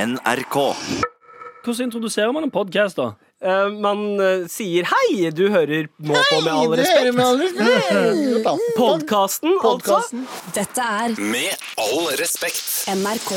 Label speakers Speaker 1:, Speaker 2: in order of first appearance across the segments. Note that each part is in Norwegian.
Speaker 1: NRK.
Speaker 2: Hvordan introduserer man en podkast, da?
Speaker 3: Eh, man eh, sier hei, du hører nå på med all
Speaker 4: Dere
Speaker 3: respekt.
Speaker 4: med all respekt.
Speaker 3: Podkasten, altså.
Speaker 4: Podcasten.
Speaker 5: Dette er
Speaker 1: Med all respekt.
Speaker 5: NRK.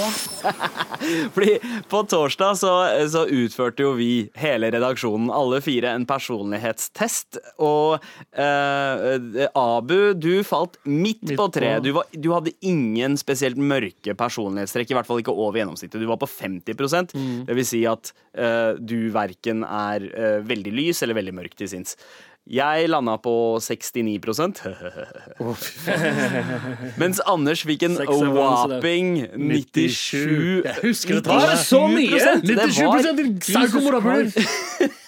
Speaker 3: Fordi på torsdag så, så utførte jo vi, hele redaksjonen, alle fire, en personlighetstest. Og eh, Abu, du falt midt,
Speaker 2: Midt på.
Speaker 3: på treet. Du, var- du hadde ingen spesielt mørke personlighetstrekk, i hvert fall ikke over gjennomsnittet. Du var på 50
Speaker 2: Mm.
Speaker 3: Det vil si at eh, du verken er eh, veldig lys eller veldig mørk til sinns. Jeg landa på 69 Mens Anders fikk en
Speaker 2: Seks er balanse der.
Speaker 3: whopping 97
Speaker 4: Jeg husker det
Speaker 2: Var det så mye?
Speaker 3: 97%? Det var-
Speaker 4: 97 psykomorapuler!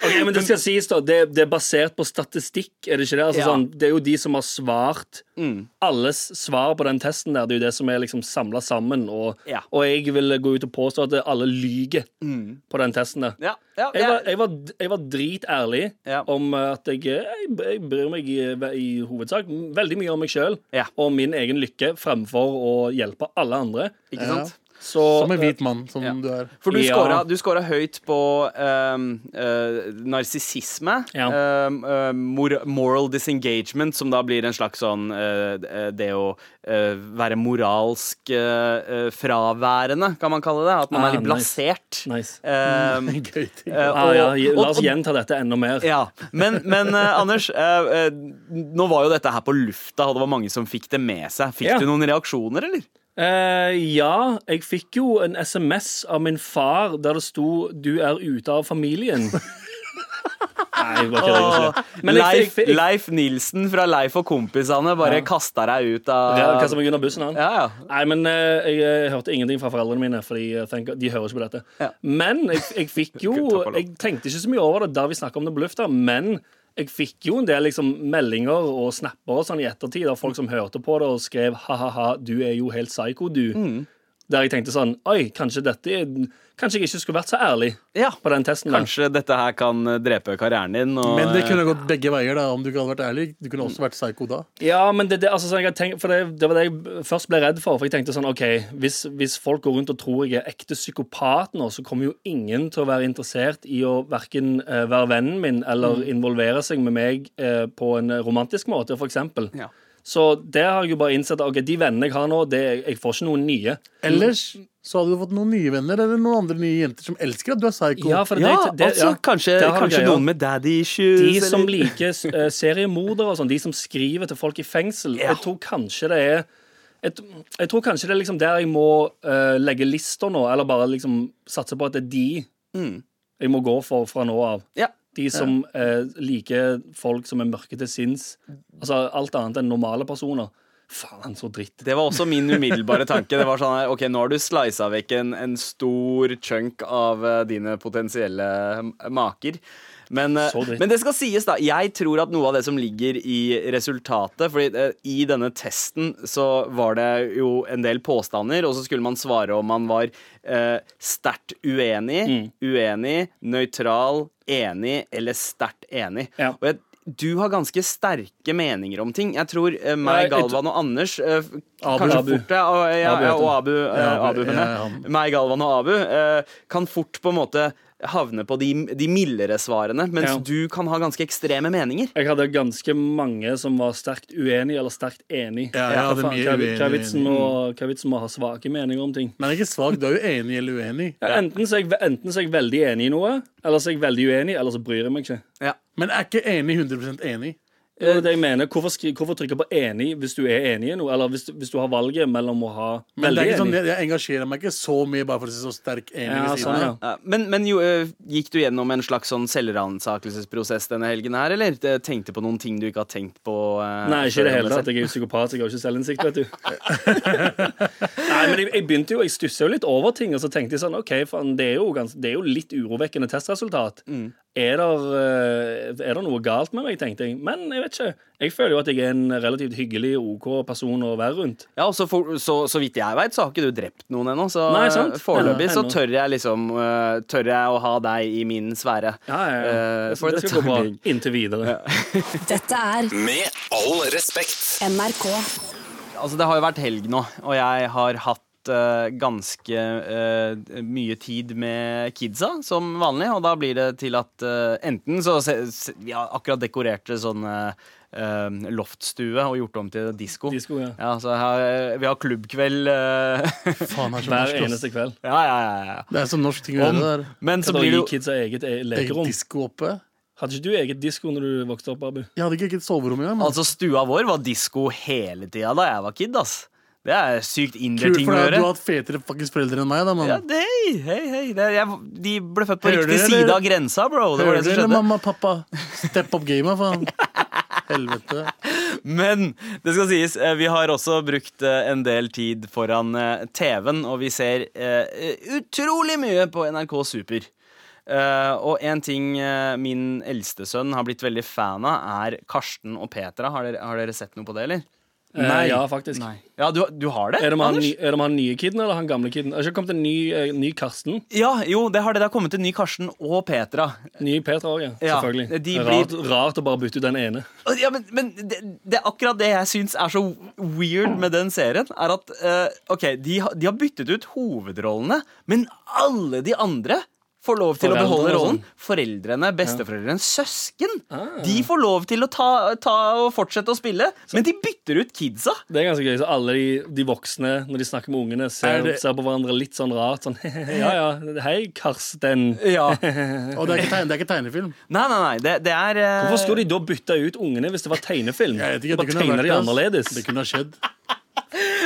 Speaker 2: Ok, men Det skal sies da, det, det er basert på statistikk, er det ikke det? Altså,
Speaker 3: Ja.
Speaker 2: sånn, det er jo de som har svart.
Speaker 3: Mm.
Speaker 2: Alles svar på den testen der, det er jo det som er liksom samla sammen. Og,
Speaker 3: Ja.
Speaker 2: og jeg vil gå ut og påstå at alle lyger
Speaker 3: Mm.
Speaker 2: på den testen der.
Speaker 3: Ja, ja,
Speaker 2: Jeg
Speaker 3: ja.
Speaker 2: var, jeg, var, jeg var dritærlig
Speaker 3: Ja.
Speaker 2: om at jeg, jeg, jeg bryr meg i, i hovedsak veldig mye om meg sjøl
Speaker 3: Ja.
Speaker 2: og min egen lykke fremfor å hjelpe alle andre.
Speaker 3: Ikke sant?
Speaker 2: Så,
Speaker 4: Som en hvit mann, som
Speaker 3: Ja.
Speaker 4: du er.
Speaker 3: For du,
Speaker 2: Ja.
Speaker 3: scora, du scora høyt på ehm, eh, narsissisme.
Speaker 2: Ja.
Speaker 3: ehm, eh, mor moral disengagement, som da blir en slags sånn eh, eh, Det å eh, være moralsk eh, eh, fraværende, kan man kalle det. At man
Speaker 2: Ah,
Speaker 3: er litt
Speaker 2: nice.
Speaker 3: blasert.
Speaker 2: Nice.
Speaker 3: Ehm,
Speaker 4: Gøy ting.
Speaker 3: eh,
Speaker 2: Ah, ja,
Speaker 3: og-
Speaker 2: la oss
Speaker 3: og-
Speaker 2: gjenta dette enda mer.
Speaker 3: Ja, Men, men eh, Anders, eh, eh, nå var jo dette her på lufta, og det var mange som fikk det med seg. Fikk
Speaker 2: Ja.
Speaker 3: du noen reaksjoner, eller?
Speaker 2: Eh, ja, jeg fikk jo en SMS av min far der det sto 'Du er ute av familien'. Nei, det var ikke det. jeg skulle si. Men jeg, jeg,
Speaker 3: Leif,
Speaker 2: jeg, jeg,
Speaker 3: Leif Nilsen fra Leif og kompisene bare kasta deg ut av
Speaker 2: Ja, kastet meg under bussen, han.
Speaker 3: Ja, ja.
Speaker 2: Nei, men eh, jeg, eh, hørte ingenting fra foreldrene mine, Fordi eh, thank God, de hører ikke på dette.
Speaker 3: Ja.
Speaker 2: Men jeg, jeg fikk jo
Speaker 3: Gud, takk og lov.
Speaker 2: Jeg tenkte ikke så mye over det da vi snakka om det på lufta, men jeg fikk jo en del liksom, meldinger og snapper og sånn i ettertid av folk som hørte på det og skrev ha-ha-ha, du er jo helt psycho, du.
Speaker 3: Mm.
Speaker 2: Der jeg tenkte sånn Oi, kanskje dette er Kanskje jeg ikke skulle vært så ærlig
Speaker 3: Ja.
Speaker 2: på den testen. der.
Speaker 3: Kanskje dette her kan eh, drepe karrieren din. Og,
Speaker 4: Men det kunne gått begge veier, da, om du ikke hadde vært ærlig. Du kunne også vært psyko da.
Speaker 2: Ja, men det, det, altså, sånn, jeg har tenkt, for det, det var det jeg først ble redd for. For jeg tenkte sånn, ok, hvis, hvis folk går rundt og tror jeg er ekte psykopat nå, så kommer jo ingen til å være interessert i å verken eh, være vennen min eller
Speaker 3: Mm.
Speaker 2: involvere seg med meg eh, på en romantisk måte, for eksempel.
Speaker 3: Ja.
Speaker 2: Så det har jeg jo bare innsett. Ok, de vennene jeg har nå, det, jeg får ikke noen nye.
Speaker 4: Ellers så hadde du fått noen nye venner eller noen andre nye jenter som elsker at du er psyko.
Speaker 2: Ja, for det,
Speaker 3: ja,
Speaker 2: det, det,
Speaker 3: altså,
Speaker 2: ja.
Speaker 3: kanskje,
Speaker 2: Der har du
Speaker 3: kanskje
Speaker 2: greia.
Speaker 3: noen med daddy issues.
Speaker 2: De som
Speaker 3: eller-
Speaker 2: liker eh, seriemordere og sånn, de som skriver til folk i fengsel,
Speaker 3: Ja.
Speaker 2: jeg tror kanskje det er jeg, t- jeg tror kanskje det er liksom der jeg må eh, legge lista nå, eller bare liksom satse på at det er de
Speaker 4: Mm.
Speaker 2: jeg må gå for fra nå av.
Speaker 3: ja.
Speaker 2: De som eh, liker folk som er mørke til sinns. Altså alt annet enn normale personer. Faen, så dritt.
Speaker 3: Det var også min umiddelbare tanke. Det var sånn her, ok, Nå har du slisa vekk en, en stor chunk av eh, dine potensielle eh, maker. Men, eh,
Speaker 2: Så dritt.
Speaker 3: men det skal sies, da. Jeg tror at noe av det som ligger i resultatet fordi eh, i denne testen så var det jo en del påstander, og så skulle man svare om man var eh, sterkt uenig,
Speaker 2: Mm.
Speaker 3: uenig, nøytral, enig eller sterkt enig.
Speaker 2: Ja.
Speaker 3: Og jeg, du har ganske sterke meninger om ting. Jeg tror eh,
Speaker 2: Nei,
Speaker 3: meg,
Speaker 2: jeg
Speaker 3: Galvan og Anders eh, Kanskje
Speaker 2: Abu.
Speaker 3: fort ja, og,
Speaker 2: Abu
Speaker 3: ja,
Speaker 2: heter
Speaker 3: ja, og
Speaker 2: han.
Speaker 3: Abu, eh,
Speaker 4: Ja, Abu,
Speaker 3: Abu mener jeg.
Speaker 4: ja, han.
Speaker 3: Meg, Galvan og Abu eh, kan fort på en måte havne på de, de mildere svarene, mens
Speaker 2: Ja.
Speaker 3: du kan ha ganske ekstreme meninger.
Speaker 2: Jeg hadde ganske mange som var sterkt uenig eller sterkt enig.
Speaker 4: Ja, jeg hadde
Speaker 2: Hva faen,
Speaker 4: mye
Speaker 2: hva-
Speaker 4: uenig, Mm.
Speaker 2: Hva er vitsen med å- hva er vitsen med å ha svake meninger om ting?
Speaker 4: Men det er ikke svak, du er jo enig eller uenig.
Speaker 2: Ja, Enten, så er jeg, enten så er jeg veldig enig i noe, eller så er jeg veldig uenig, eller så bryr jeg meg ikke.
Speaker 4: Men er ikke enig 100 enig.
Speaker 2: Det er det jeg mener. Hvorfor, skri, hvorfor trykke på enig hvis du er enig i noe, eller hvis, hvis du har valget mellom å ha
Speaker 4: Men
Speaker 2: veldig
Speaker 4: det er ikke sånn,
Speaker 2: enig?
Speaker 4: jeg, jeg engasjerer meg ikke så mye bare for å si så sterk enig
Speaker 2: Ja,
Speaker 4: ved siden
Speaker 2: sånn,
Speaker 4: av.
Speaker 2: ja.
Speaker 3: Ja, Men, men jo, eh, gikk du gjennom en slags sånn selvransakelsesprosess denne helgen her, eller Eh, tenkte på noen ting du ikke har tenkt på? eh,
Speaker 2: Nei, ikke i det
Speaker 3: før
Speaker 2: hele
Speaker 3: om
Speaker 2: tatt. Jeg er jo psykopat, så jeg har jo ikke selvinnsikt, vet du. Nei, men jeg, jeg begynte jo, jeg stussa jo litt over ting, og så tenkte jeg sånn OK, faen, det er jo, gans, det er jo litt urovekkende testresultat. Er, der, eh, er det noe galt med meg, tenkte jeg. Men jeg vet ikke. Jeg føler jo at jeg er en relativt hyggelig, OK person å være rundt.
Speaker 3: Ja, og så, for, så, så vidt jeg veit, så har ikke du drept noen ennå. Så eh,
Speaker 2: Nei, sant.
Speaker 3: foreløpig
Speaker 2: Ennå,
Speaker 3: så
Speaker 2: ennå.
Speaker 3: tør jeg liksom eh, Tør jeg å ha deg i min sfære.
Speaker 2: Ja, ja, ja.
Speaker 3: Eh,
Speaker 2: Det-
Speaker 3: for
Speaker 2: det
Speaker 3: dette
Speaker 2: skal gå bra
Speaker 3: blir-
Speaker 2: inntil videre.
Speaker 5: Dette er
Speaker 1: Med all respekt.
Speaker 5: NRK.
Speaker 3: Altså, det har jo vært helg nå, og jeg har hatt eh, ganske eh, mye tid med kidsa, som vanlig. Og da blir det til at eh, enten så se, se, Vi har akkurat dekorert det sånn eh, eh, loftstue og gjort om til disko.
Speaker 2: Disco, ja.
Speaker 3: Ja, så her, vi har klubbkveld. eh,
Speaker 4: Faen, det er
Speaker 2: Hver
Speaker 4: så norsk, ass.
Speaker 2: eneste kveld.
Speaker 3: ja, ja, ja, ja.
Speaker 4: Det er så norsk ting å gjøre. det der.
Speaker 3: Men så
Speaker 2: Da
Speaker 3: blir det
Speaker 2: gir
Speaker 3: jo
Speaker 2: kidsa eget e-
Speaker 4: Eget
Speaker 2: lekerom.
Speaker 4: disko oppe.
Speaker 2: Hadde ikke du eget disko når du vokste opp, Abu?
Speaker 4: Jeg hadde ikke eget soverom engang. men-
Speaker 3: Altså, stua vår var disko hele tida da jeg var kid, ass. Det er sykt inder
Speaker 4: Kult,
Speaker 3: ting
Speaker 4: for
Speaker 3: å
Speaker 4: det er-
Speaker 3: gjøre.
Speaker 4: du har sånn- hatt fetere faktisk foreldre enn meg, da, mann.
Speaker 3: Ja, det- hei, hei, hei. Det, jeg, de ble født på
Speaker 4: Hører
Speaker 3: riktig
Speaker 4: dere,
Speaker 3: side
Speaker 4: eller?
Speaker 3: av grensa, bro. Det var
Speaker 4: Hører
Speaker 3: det som
Speaker 4: dere,
Speaker 3: skjedde.
Speaker 4: mamma og pappa? Step up gamet, faen. Helvete.
Speaker 3: Men det skal sies, eh, vi har også brukt eh, en del tid foran eh, TV-en, og vi ser eh, utrolig mye på NRK Super. Eh, og en ting eh, min eldste sønn har blitt veldig fan av, er Karsten og Petra. Har dere, har dere sett noe på det, eller?
Speaker 2: Eh, Ja, faktisk.
Speaker 3: Ja, du, du har det?
Speaker 2: Er det med han,
Speaker 3: Anders?
Speaker 2: ny- er det med han nye kiden eller han gamle kiden? Er det ikke kommet en ny, eh, ny Karsten?
Speaker 3: Ja, jo, det har det. Det har kommet en ny Karsten og Petra.
Speaker 2: Ny Petra òg, ja.
Speaker 3: Ja,
Speaker 2: Selvfølgelig.
Speaker 3: de
Speaker 2: Det er
Speaker 3: blir-
Speaker 2: rart, rart å bare bytte ut den ene.
Speaker 3: Og- Ja, men, men det, det er akkurat det jeg syns er så weird med den serien. Er at eh, ok, de, har- de har byttet ut hovedrollene, men alle de andre får lov til å beholde
Speaker 2: Foreldrene og
Speaker 3: rollen.
Speaker 2: sånn. Ah.
Speaker 3: Foreldrene, besteforeldrene, søsken. De får lov til å ta, ta og fortsette å spille, men de bytter ut kidsa.
Speaker 2: Det er ganske gøy, så alle de, de voksne, når de snakker med ungene, ser,
Speaker 4: Er det-
Speaker 2: ser på hverandre litt sånn rart. Sånn ja, ja, hei, Karsten.
Speaker 3: Ja.
Speaker 4: Og det er ikke, tegn, det er ikke tegnefilm.
Speaker 3: Nei, nei, nei. Det, det er eh,
Speaker 2: Hvorfor skulle de da bytte ut ungene hvis det var tegnefilm?
Speaker 4: Jeg vet ikke, det
Speaker 2: Bare
Speaker 4: kunne ha
Speaker 2: tegne
Speaker 4: vært
Speaker 2: de
Speaker 4: det, ass.
Speaker 2: annerledes.
Speaker 4: Det kunne ha skjedd.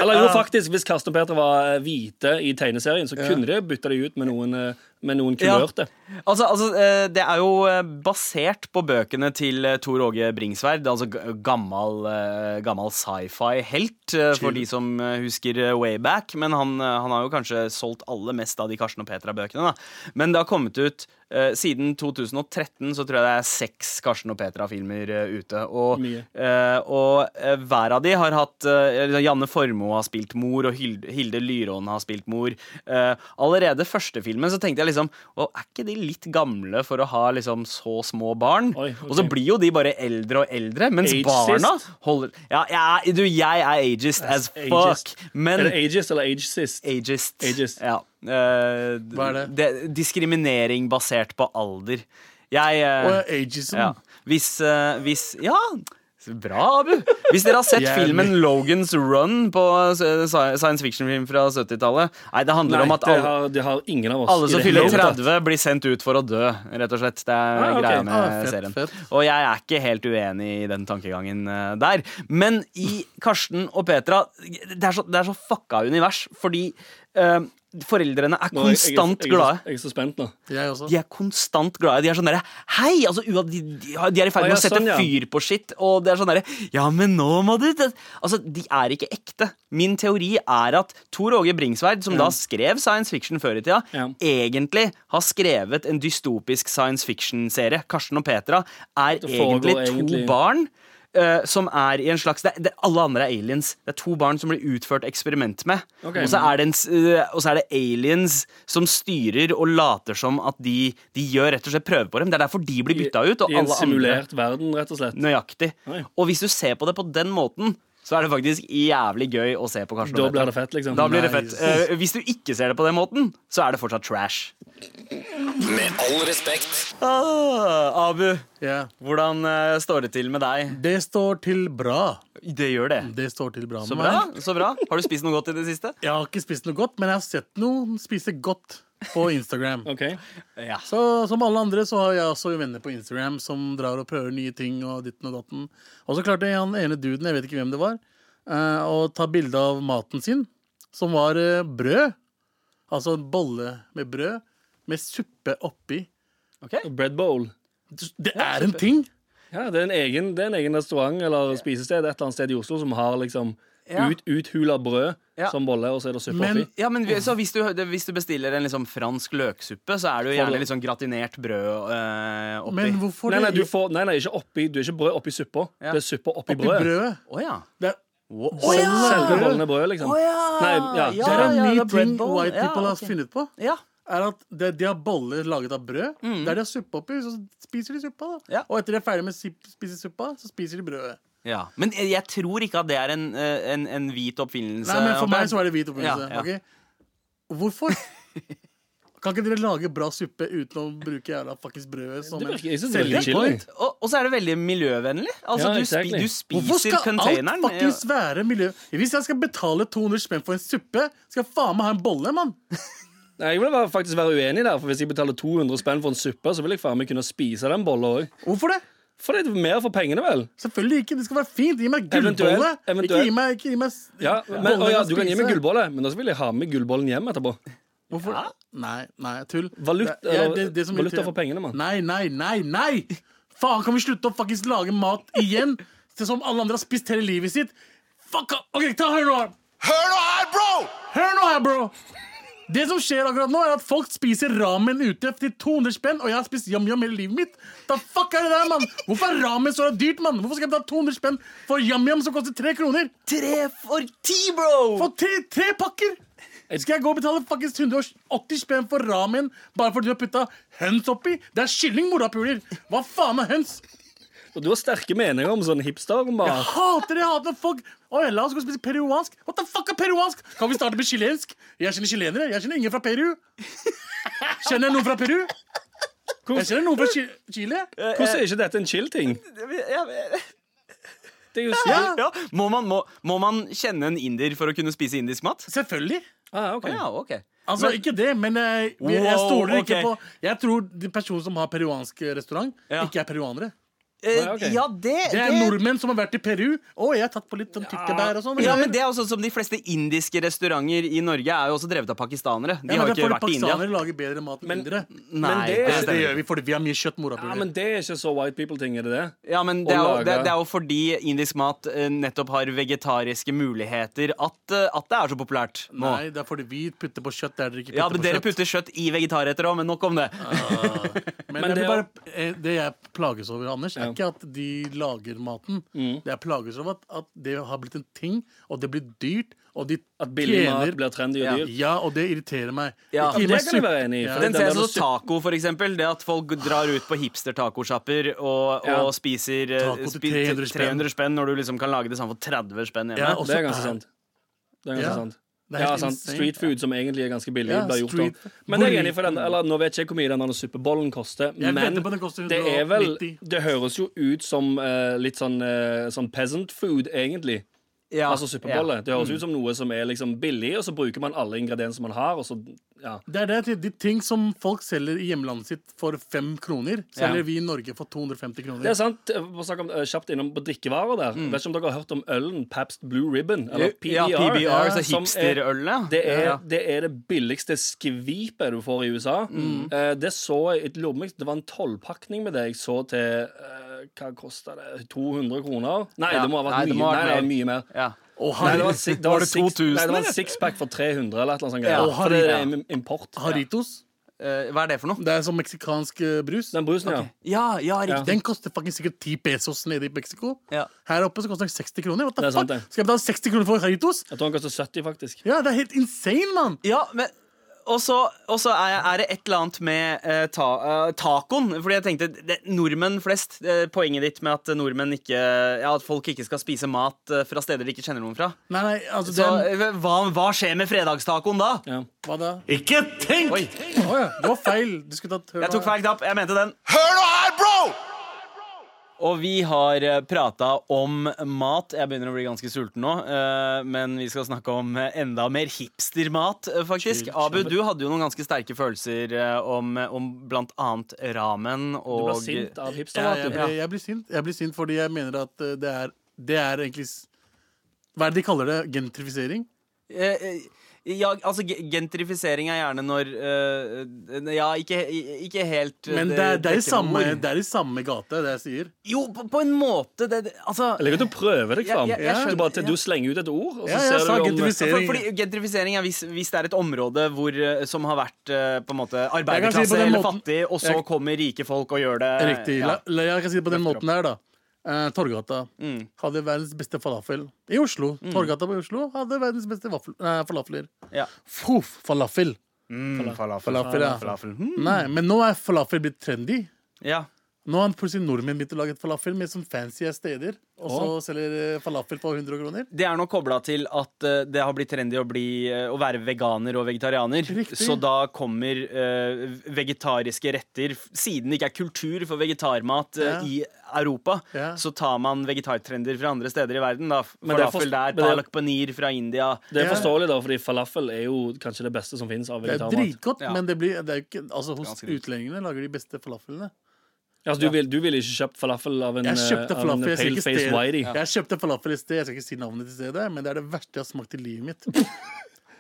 Speaker 2: Eller jo, faktisk, hvis Karsten og Petra var eh, hvite i tegneserien, så kunne de bytte de ut med noen, eh, med noen
Speaker 3: Ja.
Speaker 2: kulørte.
Speaker 3: Altså, altså, eh, det er jo eh, basert på bøkene til eh, Tor Åge Bringsværd. Altså g- gammel, eh, gammel sci-fi-helt, eh, for de som eh, husker eh, way back. Men han, eh, han har jo kanskje solgt aller mest av de Karsten og Petra-bøkene. da Men det har kommet ut eh, siden 2013 så tror jeg det er seks Karsten og Petra-filmer eh, ute. Og,
Speaker 2: Mye.
Speaker 3: eh, og eh, hver av de har hatt eh, eller Janne Formoe har spilt mor, og Hilde, Hilde Lyråen har spilt mor. Eh, allerede første filmen så tenkte jeg liksom Å, er ikke de litt gamle for å ha liksom så små barn?
Speaker 2: Oi, ok.
Speaker 3: Og så blir jo de bare eldre og eldre, mens
Speaker 2: Ageist?
Speaker 3: barna holder Ja, jeg, du, jeg er ageist as fuck,
Speaker 2: Ageist. Er
Speaker 3: men
Speaker 2: det ages eller age sist?
Speaker 3: Ageist.
Speaker 2: Ageist.
Speaker 3: Ja. Eh, d-
Speaker 4: Hva er det?
Speaker 3: diskriminering basert på alder. Jeg eh,
Speaker 4: Og ageism.
Speaker 3: ja.
Speaker 2: Sånn.
Speaker 3: Hvis, eh, hvis Ja! så Bra, Abu! Hvis dere har sett
Speaker 4: Jeg er
Speaker 3: filmen Logan's Run på eh, sci- science fiction-film fra 70-tallet Nei, det handler
Speaker 2: Nei,
Speaker 3: om at
Speaker 2: det
Speaker 3: alle,
Speaker 2: har, det har ingen av oss.
Speaker 3: alle
Speaker 2: i
Speaker 3: som
Speaker 2: det
Speaker 3: fyller
Speaker 2: hele tatt.
Speaker 3: 30, blir sendt ut for å dø, rett og slett. Det er
Speaker 2: Ah, ok.
Speaker 3: greia med
Speaker 4: Ah, fett,
Speaker 3: serien.
Speaker 4: fett.
Speaker 3: Og jeg er ikke helt uenig i den tankegangen eh, der. Men i Karsten og Petra Det er så, det er så fucka univers, fordi eh, foreldrene er
Speaker 2: Nå, jeg- jeg er-
Speaker 3: konstant
Speaker 2: jeg er så-
Speaker 3: glade.
Speaker 2: Jeg er så spent nå.
Speaker 4: Jeg også.
Speaker 3: De er konstant glade. De er sånn derre Hei! Altså, ua- de, de har- de er i ferd
Speaker 2: Å,
Speaker 3: med
Speaker 2: ja,
Speaker 3: å sette
Speaker 2: sånn, ja.
Speaker 3: fyr på skitt, og det er sånn derre Ja, men nå må du det. Altså, de er ikke ekte. Min teori er at Tor Åge Bringsværd, som da skrev science fiction før i tida,
Speaker 2: Ja.
Speaker 3: egentlig har skrevet en dystopisk science fiction-serie. Karsten og Petra er
Speaker 2: foregår
Speaker 3: egentlig to
Speaker 2: egentlig-
Speaker 3: barn. eh, som er i en slags det, det, Alle andre er aliens. Det er to barn som blir utført eksperiment med.
Speaker 2: Ok.
Speaker 3: Og så er det, en, s- eh, og så er det aliens som styrer og later som at de, de gjør rett og slett prøver på dem. Det er derfor de blir bytta ut. Og
Speaker 2: I en
Speaker 3: alle andre
Speaker 2: simulert verden, rett og slett.
Speaker 3: nøyaktig.
Speaker 2: Oi.
Speaker 3: Og hvis du ser på det på den måten, så er det faktisk jævlig gøy å se på. Karsten
Speaker 2: Da
Speaker 3: og
Speaker 2: blir
Speaker 3: Petra.
Speaker 2: det fett, liksom.
Speaker 3: Da blir det fett.
Speaker 4: Nice.
Speaker 3: Eh, hvis du ikke ser det på den måten, så er det fortsatt trash.
Speaker 1: Med all respekt.
Speaker 3: Ah, Abu,
Speaker 4: Ja.
Speaker 3: hvordan eh, står det til med deg?
Speaker 4: Det står til bra.
Speaker 3: Det gjør det.
Speaker 4: Det står til bra med
Speaker 3: Så bra.
Speaker 4: meg.
Speaker 3: så bra Har du spist noe godt i det siste?
Speaker 4: Jeg har ikke spist noe godt, men jeg har sett noen spise godt på Instagram.
Speaker 2: Ok.
Speaker 3: Ja.
Speaker 4: Så som alle andre så har jeg også venner på Instagram som drar og prøver nye ting. Og ditten og datten Og så klarte han ene duden, jeg vet ikke hvem det var, eh, å ta bilde av maten sin, som var eh, brød. Altså en bolle med brød med suppe oppi.
Speaker 2: Bread bowl.
Speaker 4: Det er en ting!
Speaker 2: Ja, det er, en egen, det er en egen restaurant eller spisested et eller annet sted i Oslo som har liksom
Speaker 3: Ja.
Speaker 2: ut, uthula brød
Speaker 3: Ja.
Speaker 2: som bolle, og så er det suppe
Speaker 4: Men-
Speaker 2: oppi.
Speaker 3: Ja, men vi- så hvis du, hvis du bestiller en liksom fransk løksuppe, så er det jo gjerne litt sånn gratinert brød eh, oppi.
Speaker 4: Men hvorfor
Speaker 2: Nei, nei, du
Speaker 4: det
Speaker 2: får, nei, nei ikke oppi, du er ikke brød oppi suppa.
Speaker 3: Ja.
Speaker 2: Det er suppa oppi,
Speaker 4: oppi
Speaker 2: brødet.
Speaker 4: brødet?
Speaker 3: Å ja.
Speaker 4: Det er,
Speaker 3: Å ja!
Speaker 2: Selve bollen er brød, liksom. Nei, ja.
Speaker 3: Ja,
Speaker 4: det er en
Speaker 3: ja,
Speaker 4: ny
Speaker 3: det er bread
Speaker 4: ting
Speaker 3: bowl.
Speaker 4: white
Speaker 3: Ja,
Speaker 4: people
Speaker 3: ok.
Speaker 4: har funnet på.
Speaker 3: Ja.
Speaker 4: er at de, de har boller laget av brød.
Speaker 2: Mm.
Speaker 4: Der de har suppe oppi, så spiser de suppa. da
Speaker 3: Ja.
Speaker 4: Og etter de er ferdig med å si- spise suppa, så spiser de brødet.
Speaker 3: Ja. Men jeg jeg tror ikke at det er en, eh, en, en hvit oppfinnelse.
Speaker 4: Nei, men For
Speaker 3: Håper
Speaker 4: meg
Speaker 3: jeg.
Speaker 4: så er det hvit
Speaker 3: Ja,
Speaker 4: opprinnelse.
Speaker 3: ja.
Speaker 4: ok? Hvorfor? Kan ikke dere lage bra suppe uten å bruke jævla fuckings brødet sånn? som
Speaker 2: Det
Speaker 4: en
Speaker 2: virker, jeg synes det er veldig chill. jeg.
Speaker 3: Og, og så er det veldig miljøvennlig. Altså,
Speaker 2: Ja,
Speaker 3: du, spi,
Speaker 2: exactly.
Speaker 3: du
Speaker 4: Hvorfor
Speaker 3: spiser
Speaker 4: skal alt
Speaker 3: containeren.
Speaker 4: fuckings være miljø... Hvis jeg skal betale 200 spenn for en suppe, skal jeg faen meg ha en bolle, mann!
Speaker 2: Nei, jeg vil bare faktisk være uenig der, for hvis jeg betaler 200 spenn for en suppe, så vil jeg faen meg kunne spise den bolla òg.
Speaker 4: Hvorfor det?
Speaker 2: For det er mer for pengene, vel.
Speaker 4: Selvfølgelig ikke. Det skal være fint. Gi meg gullbolle.
Speaker 2: Eventuelt- eventuelt.
Speaker 4: Ikke gi meg, ikke gi meg s-
Speaker 2: Ja, men,
Speaker 4: bolle
Speaker 2: å, ja,
Speaker 4: jeg
Speaker 2: du kan gi
Speaker 4: spiser.
Speaker 2: meg gullbolle, men da vil jeg ha med gullbollen hjem etterpå.
Speaker 4: Hvorfor? Nei, nei, tull.
Speaker 2: Valuta-
Speaker 4: Det- jeg-
Speaker 2: eller
Speaker 4: som
Speaker 2: valuta
Speaker 4: irriterer-
Speaker 2: for pengene, mann.
Speaker 4: Nei, nei, nei, nei! Faen, kan vi slutte å fuckings lage mat igjen? Det som alle andre har spist hele livet sitt? Fuck off! Ok, ta hør nå her.
Speaker 6: Hør nå her, bro!
Speaker 4: Hør nå her, bro! Det som skjer akkurat nå, er at folk spiser ramen ute til 200 spenn, og jeg har spist yam-yam hele livet mitt. Da fuck er det der, mann? Hvorfor er ramen så dyrt, mann? Hvorfor skal jeg betale 200 spenn for yam-yam som koster tre kroner?
Speaker 3: Tre for ti, bro!
Speaker 4: For tre, tre pakker! Skal jeg gå og betale fuckings 180 spenn for ramen bare fordi du har putta høns oppi? Det er kylling, morapuler! Hva faen er høns?
Speaker 2: Og du har sterke meninger om sånn
Speaker 4: Jeg
Speaker 2: hipster-mat.
Speaker 4: hater det! Jeg hater når folk Å, la oss gå og spise peruansk. What the fuck er peruansk? Kan vi starte med chilensk? Jeg kjenner chilenere. Jeg kjenner ingen fra Peru. Kjenner jeg noen fra Peru? Jeg kjenner noen fra Chi- Chile.
Speaker 2: Hvordan er ikke dette en chill-ting? Det er jo
Speaker 4: Ja,
Speaker 3: Ja, må, man, må, må man kjenne en inder for å kunne spise indisk mat?
Speaker 4: selvfølgelig.
Speaker 2: Ah, ok.
Speaker 3: Ja, ok
Speaker 4: Altså, ikke det, men jeg, jeg
Speaker 3: Wow,
Speaker 4: stoler ikke
Speaker 3: ok.
Speaker 4: på Jeg tror de personene som har peruansk restaurant,
Speaker 3: Ja.
Speaker 4: ikke er peruanere.
Speaker 3: Eh,
Speaker 2: Nei, ok.
Speaker 3: Ja, det,
Speaker 4: Det er nordmenn som har vært i Peru. Å, jeg har tatt på litt sånn tykkebær og sånn.
Speaker 3: ja, men det er også som De fleste indiske restauranter i Norge er jo også drevet av pakistanere. De
Speaker 4: Ja, men
Speaker 3: har
Speaker 4: det
Speaker 3: jo ikke
Speaker 4: er fordi
Speaker 3: vært i India.
Speaker 4: Pakistanere lager bedre mat enn indere. Det,
Speaker 3: Nei,
Speaker 2: Men
Speaker 3: det,
Speaker 2: det-
Speaker 4: det
Speaker 3: stemmer.
Speaker 4: gjør vi fordi vi har mye kjøtt,
Speaker 2: Ja,
Speaker 4: morapuler.
Speaker 2: men det er ikke så white people-ting, er det det?
Speaker 3: Ja, men det er,
Speaker 2: Og
Speaker 3: jo,
Speaker 2: laga.
Speaker 3: det, det er jo fordi indisk mat eh, nettopp har vegetariske muligheter at, eh, at det er så populært nå.
Speaker 4: Nei, det er fordi vi putter på kjøtt der dere ikke putter
Speaker 3: Ja, men
Speaker 4: på
Speaker 3: Dere
Speaker 4: kjøtt. Ah.
Speaker 3: putter kjøtt i vegetarretter òg, men nok om det.
Speaker 4: Men,
Speaker 2: Men
Speaker 4: jeg vil
Speaker 2: det-
Speaker 4: bare, eh, det jeg plages over, Anders, er ikke at de lager maten. Det jeg plages over, at, at det har blitt en ting, og det blir dyrt, og de
Speaker 2: At billig mat blir trendy og
Speaker 3: Ja.
Speaker 2: dyrt?
Speaker 4: Ja, og det irriterer meg.
Speaker 3: Ja.
Speaker 4: Ikke gi
Speaker 2: Ja,
Speaker 4: meg
Speaker 2: det kan jeg
Speaker 4: suppe.
Speaker 2: være enig i, for
Speaker 4: Ja.
Speaker 2: den
Speaker 3: Den ser jeg
Speaker 2: der
Speaker 3: som
Speaker 2: med sup-
Speaker 3: taco, for eksempel. Det at folk drar ut på hipster-tacosjapper og,
Speaker 2: Ja.
Speaker 3: og spiser eh,
Speaker 4: Taco til
Speaker 3: spi-
Speaker 4: 300 spenn.
Speaker 3: 300 spenn, når du liksom kan lage det samme for 30 spenn hjemme.
Speaker 4: Ja,
Speaker 3: og,
Speaker 4: og-
Speaker 2: Det er ganske sant. Det er ganske
Speaker 4: Ja.
Speaker 2: sant.
Speaker 4: Det er
Speaker 2: Ja,
Speaker 4: helt
Speaker 2: sant.
Speaker 4: insane.
Speaker 2: Street food, som egentlig er ganske billig,
Speaker 4: Ja,
Speaker 2: blir gjort
Speaker 4: street-
Speaker 2: om. Men det er jeg enig i, for den, eller, nå vet jeg ikke hvor mye den andre suppebollen koster,
Speaker 4: Jeg
Speaker 2: men
Speaker 4: vedder på den koster
Speaker 2: det er vel
Speaker 4: 190.
Speaker 2: Det høres jo ut som eh, litt sånn, eh, sånn peasant food, egentlig.
Speaker 3: ja,
Speaker 2: Altså suppebolle. Det
Speaker 4: Mm.
Speaker 2: høres ut som noe som er liksom billig, og så bruker man alle ingrediensene man har, og så Ja.
Speaker 4: Det er det, at de ting som folk selger i hjemlandet sitt for fem kroner, selger vi i Norge for 250 kroner.
Speaker 2: Det er sant. Jeg må snakke om, eh, kjapt innom på drikkevarer der. Vet ikke om dere har hørt om ølen Pabst Blue Ribbon, eller
Speaker 3: Mm. Ja,
Speaker 2: PBR.
Speaker 3: PBR, så
Speaker 2: som er-
Speaker 3: hipsterølene.
Speaker 2: Det er,
Speaker 3: Ja.
Speaker 2: det er det billigste skvipet du får i USA.
Speaker 3: Mm.
Speaker 2: Eh, det så jeg et lomme, Det var en tolvpakning med det jeg så til eh, Hva kosta det? 200 kroner? Nei,
Speaker 3: Ja.
Speaker 2: det må ha
Speaker 3: Nei,
Speaker 2: vært
Speaker 3: det
Speaker 2: mye,
Speaker 3: må ha vært
Speaker 2: nei, det var mye mer.
Speaker 3: Ja.
Speaker 4: Og
Speaker 2: Nei,
Speaker 4: Har-
Speaker 2: det var, si- det
Speaker 3: Var
Speaker 2: var,
Speaker 3: det
Speaker 2: six,
Speaker 3: 2000,
Speaker 2: nei, det var
Speaker 3: eller?
Speaker 2: en sixpack for 300 eller et eller annet sånt.
Speaker 3: Ja,
Speaker 2: greier.
Speaker 3: og
Speaker 2: for det
Speaker 4: Harry-
Speaker 2: er im- import.
Speaker 4: Haritos.
Speaker 3: Eh, hva er det for noe?
Speaker 4: Det er sånn meksikansk eh, brus.
Speaker 2: Den brusen, ja.
Speaker 3: Ja, ja, riktig.
Speaker 4: Den koster faktisk sikkert 10 pesos nede i Mexico.
Speaker 3: Ja.
Speaker 4: Her oppe så koster den 60 kroner. What
Speaker 2: Det
Speaker 4: the
Speaker 2: er sant,
Speaker 4: fuck?
Speaker 2: det.
Speaker 4: Skal jeg betale 60 kroner for Haritos?
Speaker 2: Jeg tror den koster 70, faktisk.
Speaker 4: Ja, det er helt insane, mann!
Speaker 3: Ja, men og så og så er, er det et eller annet med eh, ta, eh, tacoen. Fordi jeg tenkte det, Nordmenn flest eh, Poenget ditt med at nordmenn ikke Ja, at folk ikke skal spise mat eh, fra steder de ikke kjenner noen fra.
Speaker 4: Nei, nei, altså
Speaker 3: Så
Speaker 4: den,
Speaker 3: eh, hva, hva skjer med fredagstacoen da?
Speaker 2: Ja.
Speaker 4: Hva da?
Speaker 6: Ikke tenk!
Speaker 3: Oi,
Speaker 4: Å ja, det var feil. Du skulle tatt
Speaker 3: jeg tok feil knapp. Jeg mente den.
Speaker 6: Hør nå her, bro!
Speaker 3: Og vi har prata om mat. Jeg begynner å bli ganske sulten nå. eh, Men vi skal snakke om eh, enda mer hipstermat, eh, faktisk. Abu, du hadde jo noen ganske sterke følelser eh, om, om blant annet ramen
Speaker 2: Du
Speaker 3: og
Speaker 2: blir sint av
Speaker 4: Ja, jeg,
Speaker 2: hipstermaten.
Speaker 4: blir- jeg blir sint. Jeg blir sint fordi jeg mener at eh, det er, det er egentlig s- Hva er det de kaller det? Gentrifisering?
Speaker 3: Eh, eh, Ja, altså ge- Gentrifisering er gjerne når eh, Ja, ikke, ikke helt eh,
Speaker 4: Men det er, det, er i
Speaker 3: dekker
Speaker 4: samme,
Speaker 3: ord.
Speaker 4: det er i samme gate, det jeg sier.
Speaker 3: Jo, på, på en måte. Det, det- altså
Speaker 2: Jeg liker at du prøver deg fram.
Speaker 3: Ja, jeg- jeg skjønner-
Speaker 2: du, bare, til
Speaker 3: ja.
Speaker 2: du slenger ut et ord, og så
Speaker 4: Ja, jeg sa
Speaker 2: ser du om
Speaker 4: gentrifisering.
Speaker 3: For, fordi Gentrifisering er hvis, hvis det er et område hvor, eh, som har vært eh, på en måte
Speaker 4: Jeg kan
Speaker 3: arbeiderklasse
Speaker 4: si det på den
Speaker 3: eller
Speaker 4: måten-
Speaker 3: fattig, og så
Speaker 4: jeg-
Speaker 3: kommer rike folk og gjør det
Speaker 4: Riktig.
Speaker 3: Eh, Ja.
Speaker 4: La, la, jeg kan si det på den måten her, da. Eh, Torgata hadde verdens beste falafel. I Oslo. Torgata på Oslo hadde verdens beste vaffel, eh, falafler.
Speaker 3: Ja.
Speaker 4: Fuff, falafel.
Speaker 3: Mm, falafel.
Speaker 4: Falafel, ja.
Speaker 3: Falafel. Mm.
Speaker 4: Nei, men nå er falafel blitt trendy.
Speaker 3: ja.
Speaker 4: Nå har han plutselig nordmenn begynt å lage et falafel med sånn fancy steder. Og så selger eh, falafel for 100 kroner.
Speaker 3: Det er nok kobla til at eh, det har blitt trendy å, bli, eh, å være veganer og vegetarianer.
Speaker 4: Riktig.
Speaker 3: Så da kommer eh, vegetariske retter f- Siden det ikke er kultur for vegetarmat eh,
Speaker 4: Ja.
Speaker 3: i Europa,
Speaker 4: Ja.
Speaker 3: så tar man vegetartrender fra andre steder i verden. Da.
Speaker 2: Men det er forst-
Speaker 3: Falafel
Speaker 2: men
Speaker 3: der,
Speaker 2: det er-
Speaker 3: palak paneer fra India.
Speaker 2: Det er
Speaker 4: Ja.
Speaker 2: forståelig, da, fordi falafel er jo kanskje det beste som finnes av
Speaker 4: Det er
Speaker 2: vegetarmat.
Speaker 4: dritgodt,
Speaker 3: Ja.
Speaker 4: men det, blir, det er jo ikke Altså, hos
Speaker 3: Ganske digg.
Speaker 4: utlendingene lager de beste falafelene.
Speaker 2: Altså, du ville vil ikke kjøpt falafel av en,
Speaker 4: Jeg
Speaker 2: eh,
Speaker 4: kjøpte
Speaker 2: av en
Speaker 4: falafel jeg skal ikke
Speaker 2: paleface
Speaker 4: sted-
Speaker 2: whitey.
Speaker 4: Jeg kjøpte falafel i sted. Jeg skal ikke si navnet til stedet, men det er det verste jeg har smakt i livet mitt.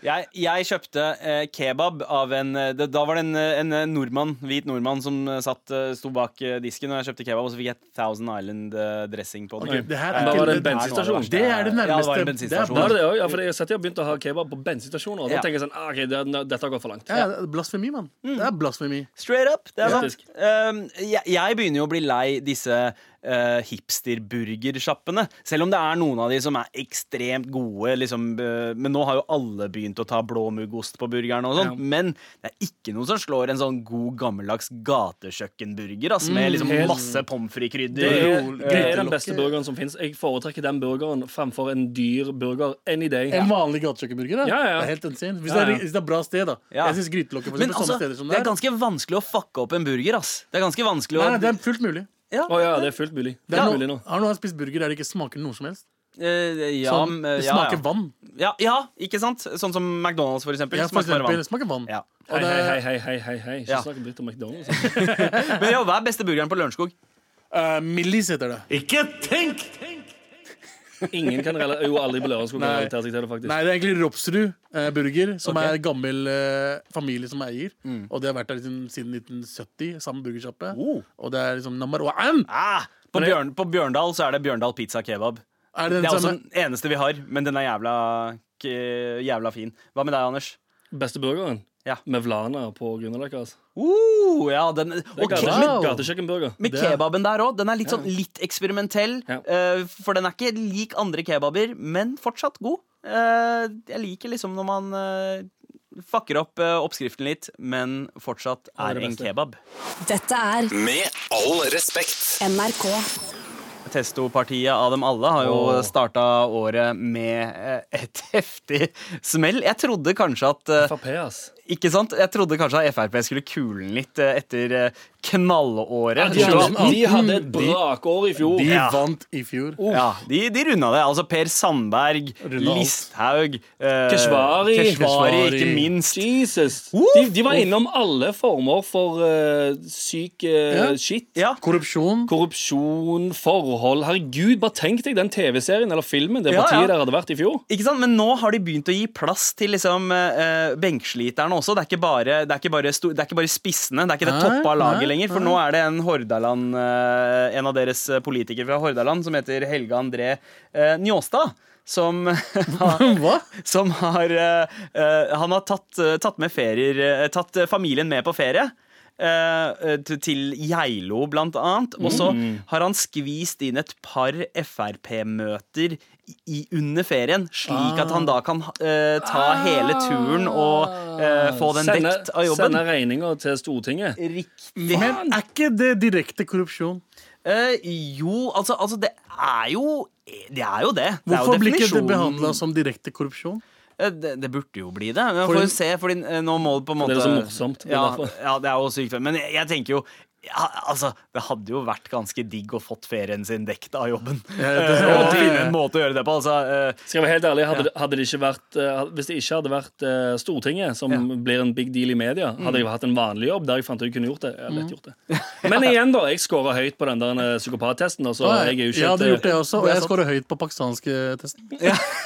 Speaker 3: Jeg, jeg kjøpte eh, kebab av en eh, det, Da var det en, eh, en eh, nordmann, hvit nordmann som eh, satt, eh, sto bak eh, disken, og jeg kjøpte kebab, og så fikk jeg Thousand Island-dressing på den.
Speaker 2: Ok,
Speaker 4: Det her
Speaker 2: Da
Speaker 4: er
Speaker 2: var det
Speaker 4: ikke
Speaker 2: en bensinstasjon.
Speaker 4: Det er det
Speaker 3: Ja, det var en
Speaker 4: nærmeste. Det er
Speaker 3: bensinstasjon.
Speaker 2: Var det det også? Ja, for jeg har sett de har begynt å ha kebab på bensinstasjoner. Og da
Speaker 3: Ja.
Speaker 2: tenker jeg sånn, ah, ok, det, er- dette har gått for langt.
Speaker 4: Ja, det er blasfemi, mann.
Speaker 3: Mm.
Speaker 4: Det er blasfemi.
Speaker 3: Straight up, det er sant.
Speaker 2: Faktisk.
Speaker 3: Um, jeg, jeg begynner jo å bli lei disse uh, hipsterburgersjappene. Selv om det er noen av de som er ekstremt gode, liksom, uh, men nå har jo alle begynt å ta blåmuggost på burgeren og sånn.
Speaker 2: Ja.
Speaker 3: Men det er ikke noen som slår en sånn god, gammeldags gatekjøkkenburger ass, med liksom
Speaker 2: Mm, helt-
Speaker 3: masse pommes
Speaker 2: Det
Speaker 3: frites-krydder. Eh,
Speaker 2: er,
Speaker 4: Jo,
Speaker 2: det er den
Speaker 4: grytelokket.
Speaker 2: beste burgeren som fins. Jeg foretrekker den burgeren fremfor en dyr burger any day.
Speaker 4: En vanlig gatekjøkkenburger. da.
Speaker 2: Ja, ja.
Speaker 4: Det er helt insane. Hvis,
Speaker 2: Ja, ja.
Speaker 4: Det er, hvis det er bra sted, da.
Speaker 3: Ja.
Speaker 4: Jeg syns grytelokket for
Speaker 3: Men
Speaker 4: eksempel,
Speaker 3: altså,
Speaker 4: samme steder som
Speaker 3: det er ganske vanskelig å fucke opp en burger, ass. Det er ganske vanskelig å
Speaker 4: Nei, nei, det er fullt mulig.
Speaker 3: Ja,
Speaker 2: Å ja, det er fullt mulig.
Speaker 4: Det er
Speaker 2: Fullt
Speaker 4: no,
Speaker 2: mulig nå.
Speaker 4: har noen spist burger der det ikke smaker noe som helst?
Speaker 3: eh, ja,
Speaker 4: Sånn,
Speaker 3: eh,
Speaker 4: det
Speaker 3: ja,
Speaker 4: smaker
Speaker 3: ja.
Speaker 4: vann.
Speaker 3: Ja, ja, ikke sant? Sånn som McDonald's, for eksempel.
Speaker 4: Ja, for
Speaker 3: smaker bare
Speaker 4: eksempel, det
Speaker 3: vann.
Speaker 4: smaker vann.
Speaker 3: Ja.
Speaker 2: Hei,
Speaker 4: Og det,
Speaker 2: hei, hei, hei, hei, hei, hei. Ikke
Speaker 3: Ja.
Speaker 2: snakk dritt om McDonald's. altså.
Speaker 3: Men ja, hva er beste burgeren på Lørenskog?
Speaker 4: eh, Millis heter det.
Speaker 7: Ikke tenk!
Speaker 2: Ingen kan rela- jo aldri på Lørenskog kan
Speaker 4: Nei.
Speaker 2: relatere seg til det, faktisk.
Speaker 4: Nei, det er egentlig Ropsrud eh, Burger, som er gammel eh, familie som eier. Og det har vært der liksom, siden 1970, samme burgersjappe.
Speaker 3: Mm. Oh.
Speaker 4: Og det er liksom number one!
Speaker 3: Ah, på,
Speaker 2: Men det-
Speaker 3: Bjørn, på Bjørndal så er det Bjørndal pizza kebab.
Speaker 4: Er det
Speaker 3: Det
Speaker 4: den
Speaker 3: er også
Speaker 4: samme?
Speaker 3: den eneste vi har, men den er jævla, k- jævla fin. Hva med deg, Anders?
Speaker 2: Beste burgeren?
Speaker 3: Ja.
Speaker 2: Med Vlana på Grünerløkka. altså.
Speaker 3: Uh, ja, den,
Speaker 2: Det er
Speaker 3: og
Speaker 2: gate-
Speaker 3: ke-
Speaker 4: klart. Wow.
Speaker 2: Gatekjøkkenburger.
Speaker 3: med
Speaker 4: Det-
Speaker 3: kebaben der òg. Den er litt sånn litt eksperimentell.
Speaker 2: Ja.
Speaker 3: eh, For den er ikke lik andre kebaber, men fortsatt god. Eh, Jeg liker liksom når man eh, fucker opp eh, oppskriften litt, men fortsatt er en kebab.
Speaker 5: Dette er
Speaker 1: Med all respekt.
Speaker 5: NRK.
Speaker 3: Testo-partiet av dem alle har jo
Speaker 2: Åh.
Speaker 3: starta året med eh, et heftig smell. Jeg trodde kanskje at eh,
Speaker 2: Frp, ass.
Speaker 3: Ikke sant? Jeg trodde kanskje at Frp skulle kule den litt eh, etter eh, knallåret.
Speaker 2: De hadde, de hadde et
Speaker 4: de-
Speaker 2: brakår i fjor.
Speaker 4: De
Speaker 3: Ja.
Speaker 4: vant i fjor.
Speaker 2: Oh.
Speaker 3: Ja, de, de runda det. Altså Per Sandberg,
Speaker 4: Runda alt.
Speaker 3: Listhaug eh,
Speaker 2: Keshvari.
Speaker 3: Keshvari, ikke
Speaker 4: Keshvari.
Speaker 3: minst.
Speaker 2: Jesus!
Speaker 3: Uff.
Speaker 2: De, de var innom alle former for eh, syk eh,
Speaker 4: Ja.
Speaker 2: shit.
Speaker 3: Ja.
Speaker 4: Korrupsjon.
Speaker 2: Korrupsjon, forhold Herregud, bare tenk deg den TV-serien eller filmen det
Speaker 3: Ja,
Speaker 2: partiet
Speaker 3: ja.
Speaker 2: der hadde vært i fjor.
Speaker 3: Ikke sant? Men nå har de begynt å gi plass til liksom, eh, eh, benkesliterne også. Det er, ikke bare, det, er ikke bare sto, det er ikke bare spissene, det er ikke det
Speaker 4: Nei,
Speaker 3: toppa laget
Speaker 4: nei,
Speaker 3: lenger. For nå er det en Hordaland, eh, en av deres eh, politikere fra Hordaland som heter Helge André eh, Njåstad. Som
Speaker 4: Hva?
Speaker 3: som har eh, eh, Han har tatt, eh, tatt med ferier eh, Tatt eh, familien med på ferie. eh, eh, til- til Geilo, blant annet. Og så
Speaker 4: Mm.
Speaker 3: har han skvist inn et par Frp-møter i- under ferien, slik at han da kan eh, ta hele turen og eh, få den
Speaker 4: Ah.
Speaker 2: Sende,
Speaker 3: dekt av jobben.
Speaker 2: sende regninga til Stortinget.
Speaker 3: Riktig.
Speaker 4: Men er ikke det direkte korrupsjon?
Speaker 3: Eh, jo, altså, altså Det er jo Det er jo det. det er jo
Speaker 4: Hvorfor blir ikke det
Speaker 3: definisjonen.
Speaker 4: behandla som direkte korrupsjon?
Speaker 3: Eh, Det, det burde jo bli det. Men
Speaker 4: Fordi-
Speaker 3: får jo se, fordi eh, nå må det på en måte
Speaker 2: Det er jo så morsomt, det er
Speaker 3: Ja,
Speaker 2: derfor.
Speaker 3: ja, det er jo sykt. Men jeg, jeg tenker jo ja, altså, Det hadde jo vært ganske digg å fått ferien sin dekt av jobben.
Speaker 4: det-
Speaker 3: Eh, og finne en måte å gjøre det på. Altså, eh,
Speaker 2: Skal jeg være helt ærlig, hadde, hadde det ikke vært, eh, Hvis det ikke hadde vært eh, Stortinget, som blir en big deal i media, hadde jeg hatt en vanlig jobb der jeg fant ut jeg kunne gjort det. Jeg hadde lett gjort det. Men igjen, da. Jeg scora høyt på den der eh, psykopattesten. Altså, jeg er jo
Speaker 4: jeg
Speaker 2: ikke
Speaker 4: hadde
Speaker 2: et,
Speaker 4: gjort det også, og jeg scorer høyt på pakistanske testen.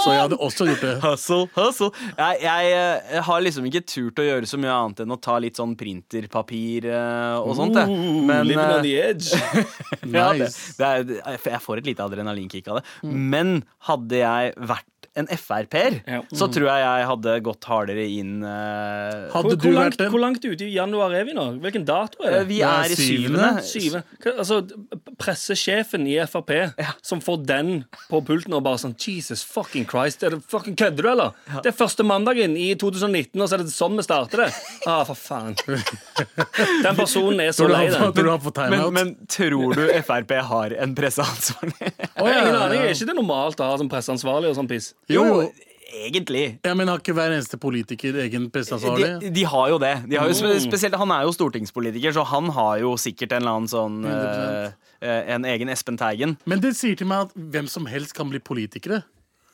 Speaker 4: Så jeg hadde også gjort det.
Speaker 3: hustle, hustle. Jeg, jeg, eh, har liksom ikke turt å gjøre så mye annet enn å ta litt sånn printerpapir eh, og sånt. jeg.
Speaker 2: Ooh,
Speaker 3: Men,
Speaker 2: living
Speaker 3: eh,
Speaker 2: on the edge.
Speaker 3: Ja, det,
Speaker 4: Nice.
Speaker 3: det er, det- jeg får et lite adrenalinkick av det. Men hadde jeg vært en Frp-er,
Speaker 2: Ja.
Speaker 3: så tror jeg jeg hadde gått hardere inn eh,
Speaker 4: Hadde
Speaker 2: Hvor,
Speaker 4: du
Speaker 2: hvor, langt,
Speaker 4: vært en
Speaker 2: hvor langt ute i januar er vi nå? Hvilken dato er
Speaker 3: eh,
Speaker 2: det?
Speaker 3: Vi
Speaker 4: det er
Speaker 3: er i syvende.
Speaker 2: Syvende? Hva, altså, pressesjefen i Frp som får den på pulten og bare sånn Jesus fucking Christ, er det fucking kødder du, eller? Det er første mandagen i 2019, og så er det sånn vi starter det. Ah, for faen. Den personen er så
Speaker 4: Tror du
Speaker 2: lei
Speaker 4: han
Speaker 2: den.
Speaker 4: får- tror du han får
Speaker 3: Men,
Speaker 4: timeout?
Speaker 3: men tror du Frp har en presseansvarlig?
Speaker 2: Å, jeg har ingen aning. Er ikke det normalt å ha som presseansvarlig og sånn piss?
Speaker 4: Jo, jo.
Speaker 3: egentlig.
Speaker 4: Ja, men har ikke hver eneste politiker egen presseansvarlig?
Speaker 3: De, de har jo det. De har jo, spe- spesielt, han er jo stortingspolitiker, så han har jo sikkert en eller annen sånn eh,
Speaker 4: 100%.
Speaker 3: eh, En egen Espen Teigen.
Speaker 4: Men det sier til meg at hvem som helst kan bli politikere.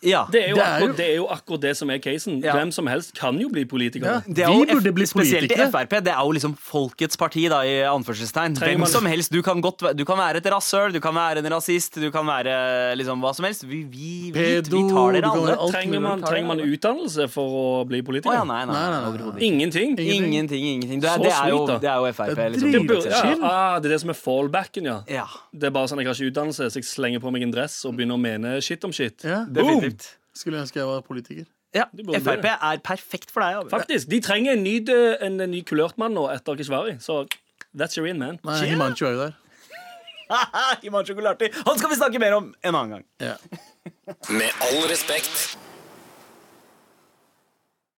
Speaker 3: Ja.
Speaker 2: Det er jo,
Speaker 4: Det er jo-
Speaker 2: akkurat, det er jo akkurat det som er casen.
Speaker 3: Ja.
Speaker 2: Hvem som helst kan jo bli politiker.
Speaker 4: Ja.
Speaker 3: Det er jo
Speaker 4: Vi burde
Speaker 3: F-
Speaker 4: bli
Speaker 3: Spesielt i
Speaker 4: politikere.
Speaker 3: Frp. Det er jo liksom folkets parti, da, i anførselstegn.
Speaker 2: Trenger
Speaker 3: Hvem
Speaker 2: man-
Speaker 3: som helst. Du kan, godt, væ- du kan være et rasshøl, du kan være en rasist, du kan være liksom hva som helst. Vi, vi, vi, vi
Speaker 4: Pedo,
Speaker 3: tar
Speaker 4: du
Speaker 3: dere
Speaker 4: kan være
Speaker 3: alle.
Speaker 4: alt
Speaker 2: Trenger man,
Speaker 4: mulig.
Speaker 2: trenger man utdannelse for å bli
Speaker 3: Å
Speaker 2: politiker?
Speaker 3: ja, nei, nei.
Speaker 4: Nei, nei, nei, nei.
Speaker 3: overhodet ikke.
Speaker 2: Ingenting.
Speaker 3: Ingenting, ingenting. Det
Speaker 2: Så
Speaker 3: er, det er, jo,
Speaker 2: sweet, da.
Speaker 3: det er jo Frp.
Speaker 4: Det er
Speaker 3: Liksom.
Speaker 2: Det,
Speaker 4: drit.
Speaker 2: burde, ja,
Speaker 4: Chill.
Speaker 2: ah, det er det som er fallbacken, ja.
Speaker 3: Ja,
Speaker 2: Det er bare sånn, Jeg har ikke utdannelse, så jeg slenger på meg en dress og begynner å mene shit om shit.
Speaker 4: Ja.
Speaker 3: definitivt.
Speaker 4: Skulle ønske jeg var politiker.
Speaker 3: Ja,
Speaker 2: Du burde
Speaker 3: Frp
Speaker 2: det.
Speaker 3: er perfekt for deg. Abu.
Speaker 2: Faktisk, De trenger en ny, dø- en, en ny kulørt mann nå etter Keshvari. Så that's your in, man.
Speaker 4: Nei, Himanchu er jo der.
Speaker 3: Himan Chocolati. Han skal vi snakke mer om en annen gang.
Speaker 4: Ja.
Speaker 1: Med all respekt.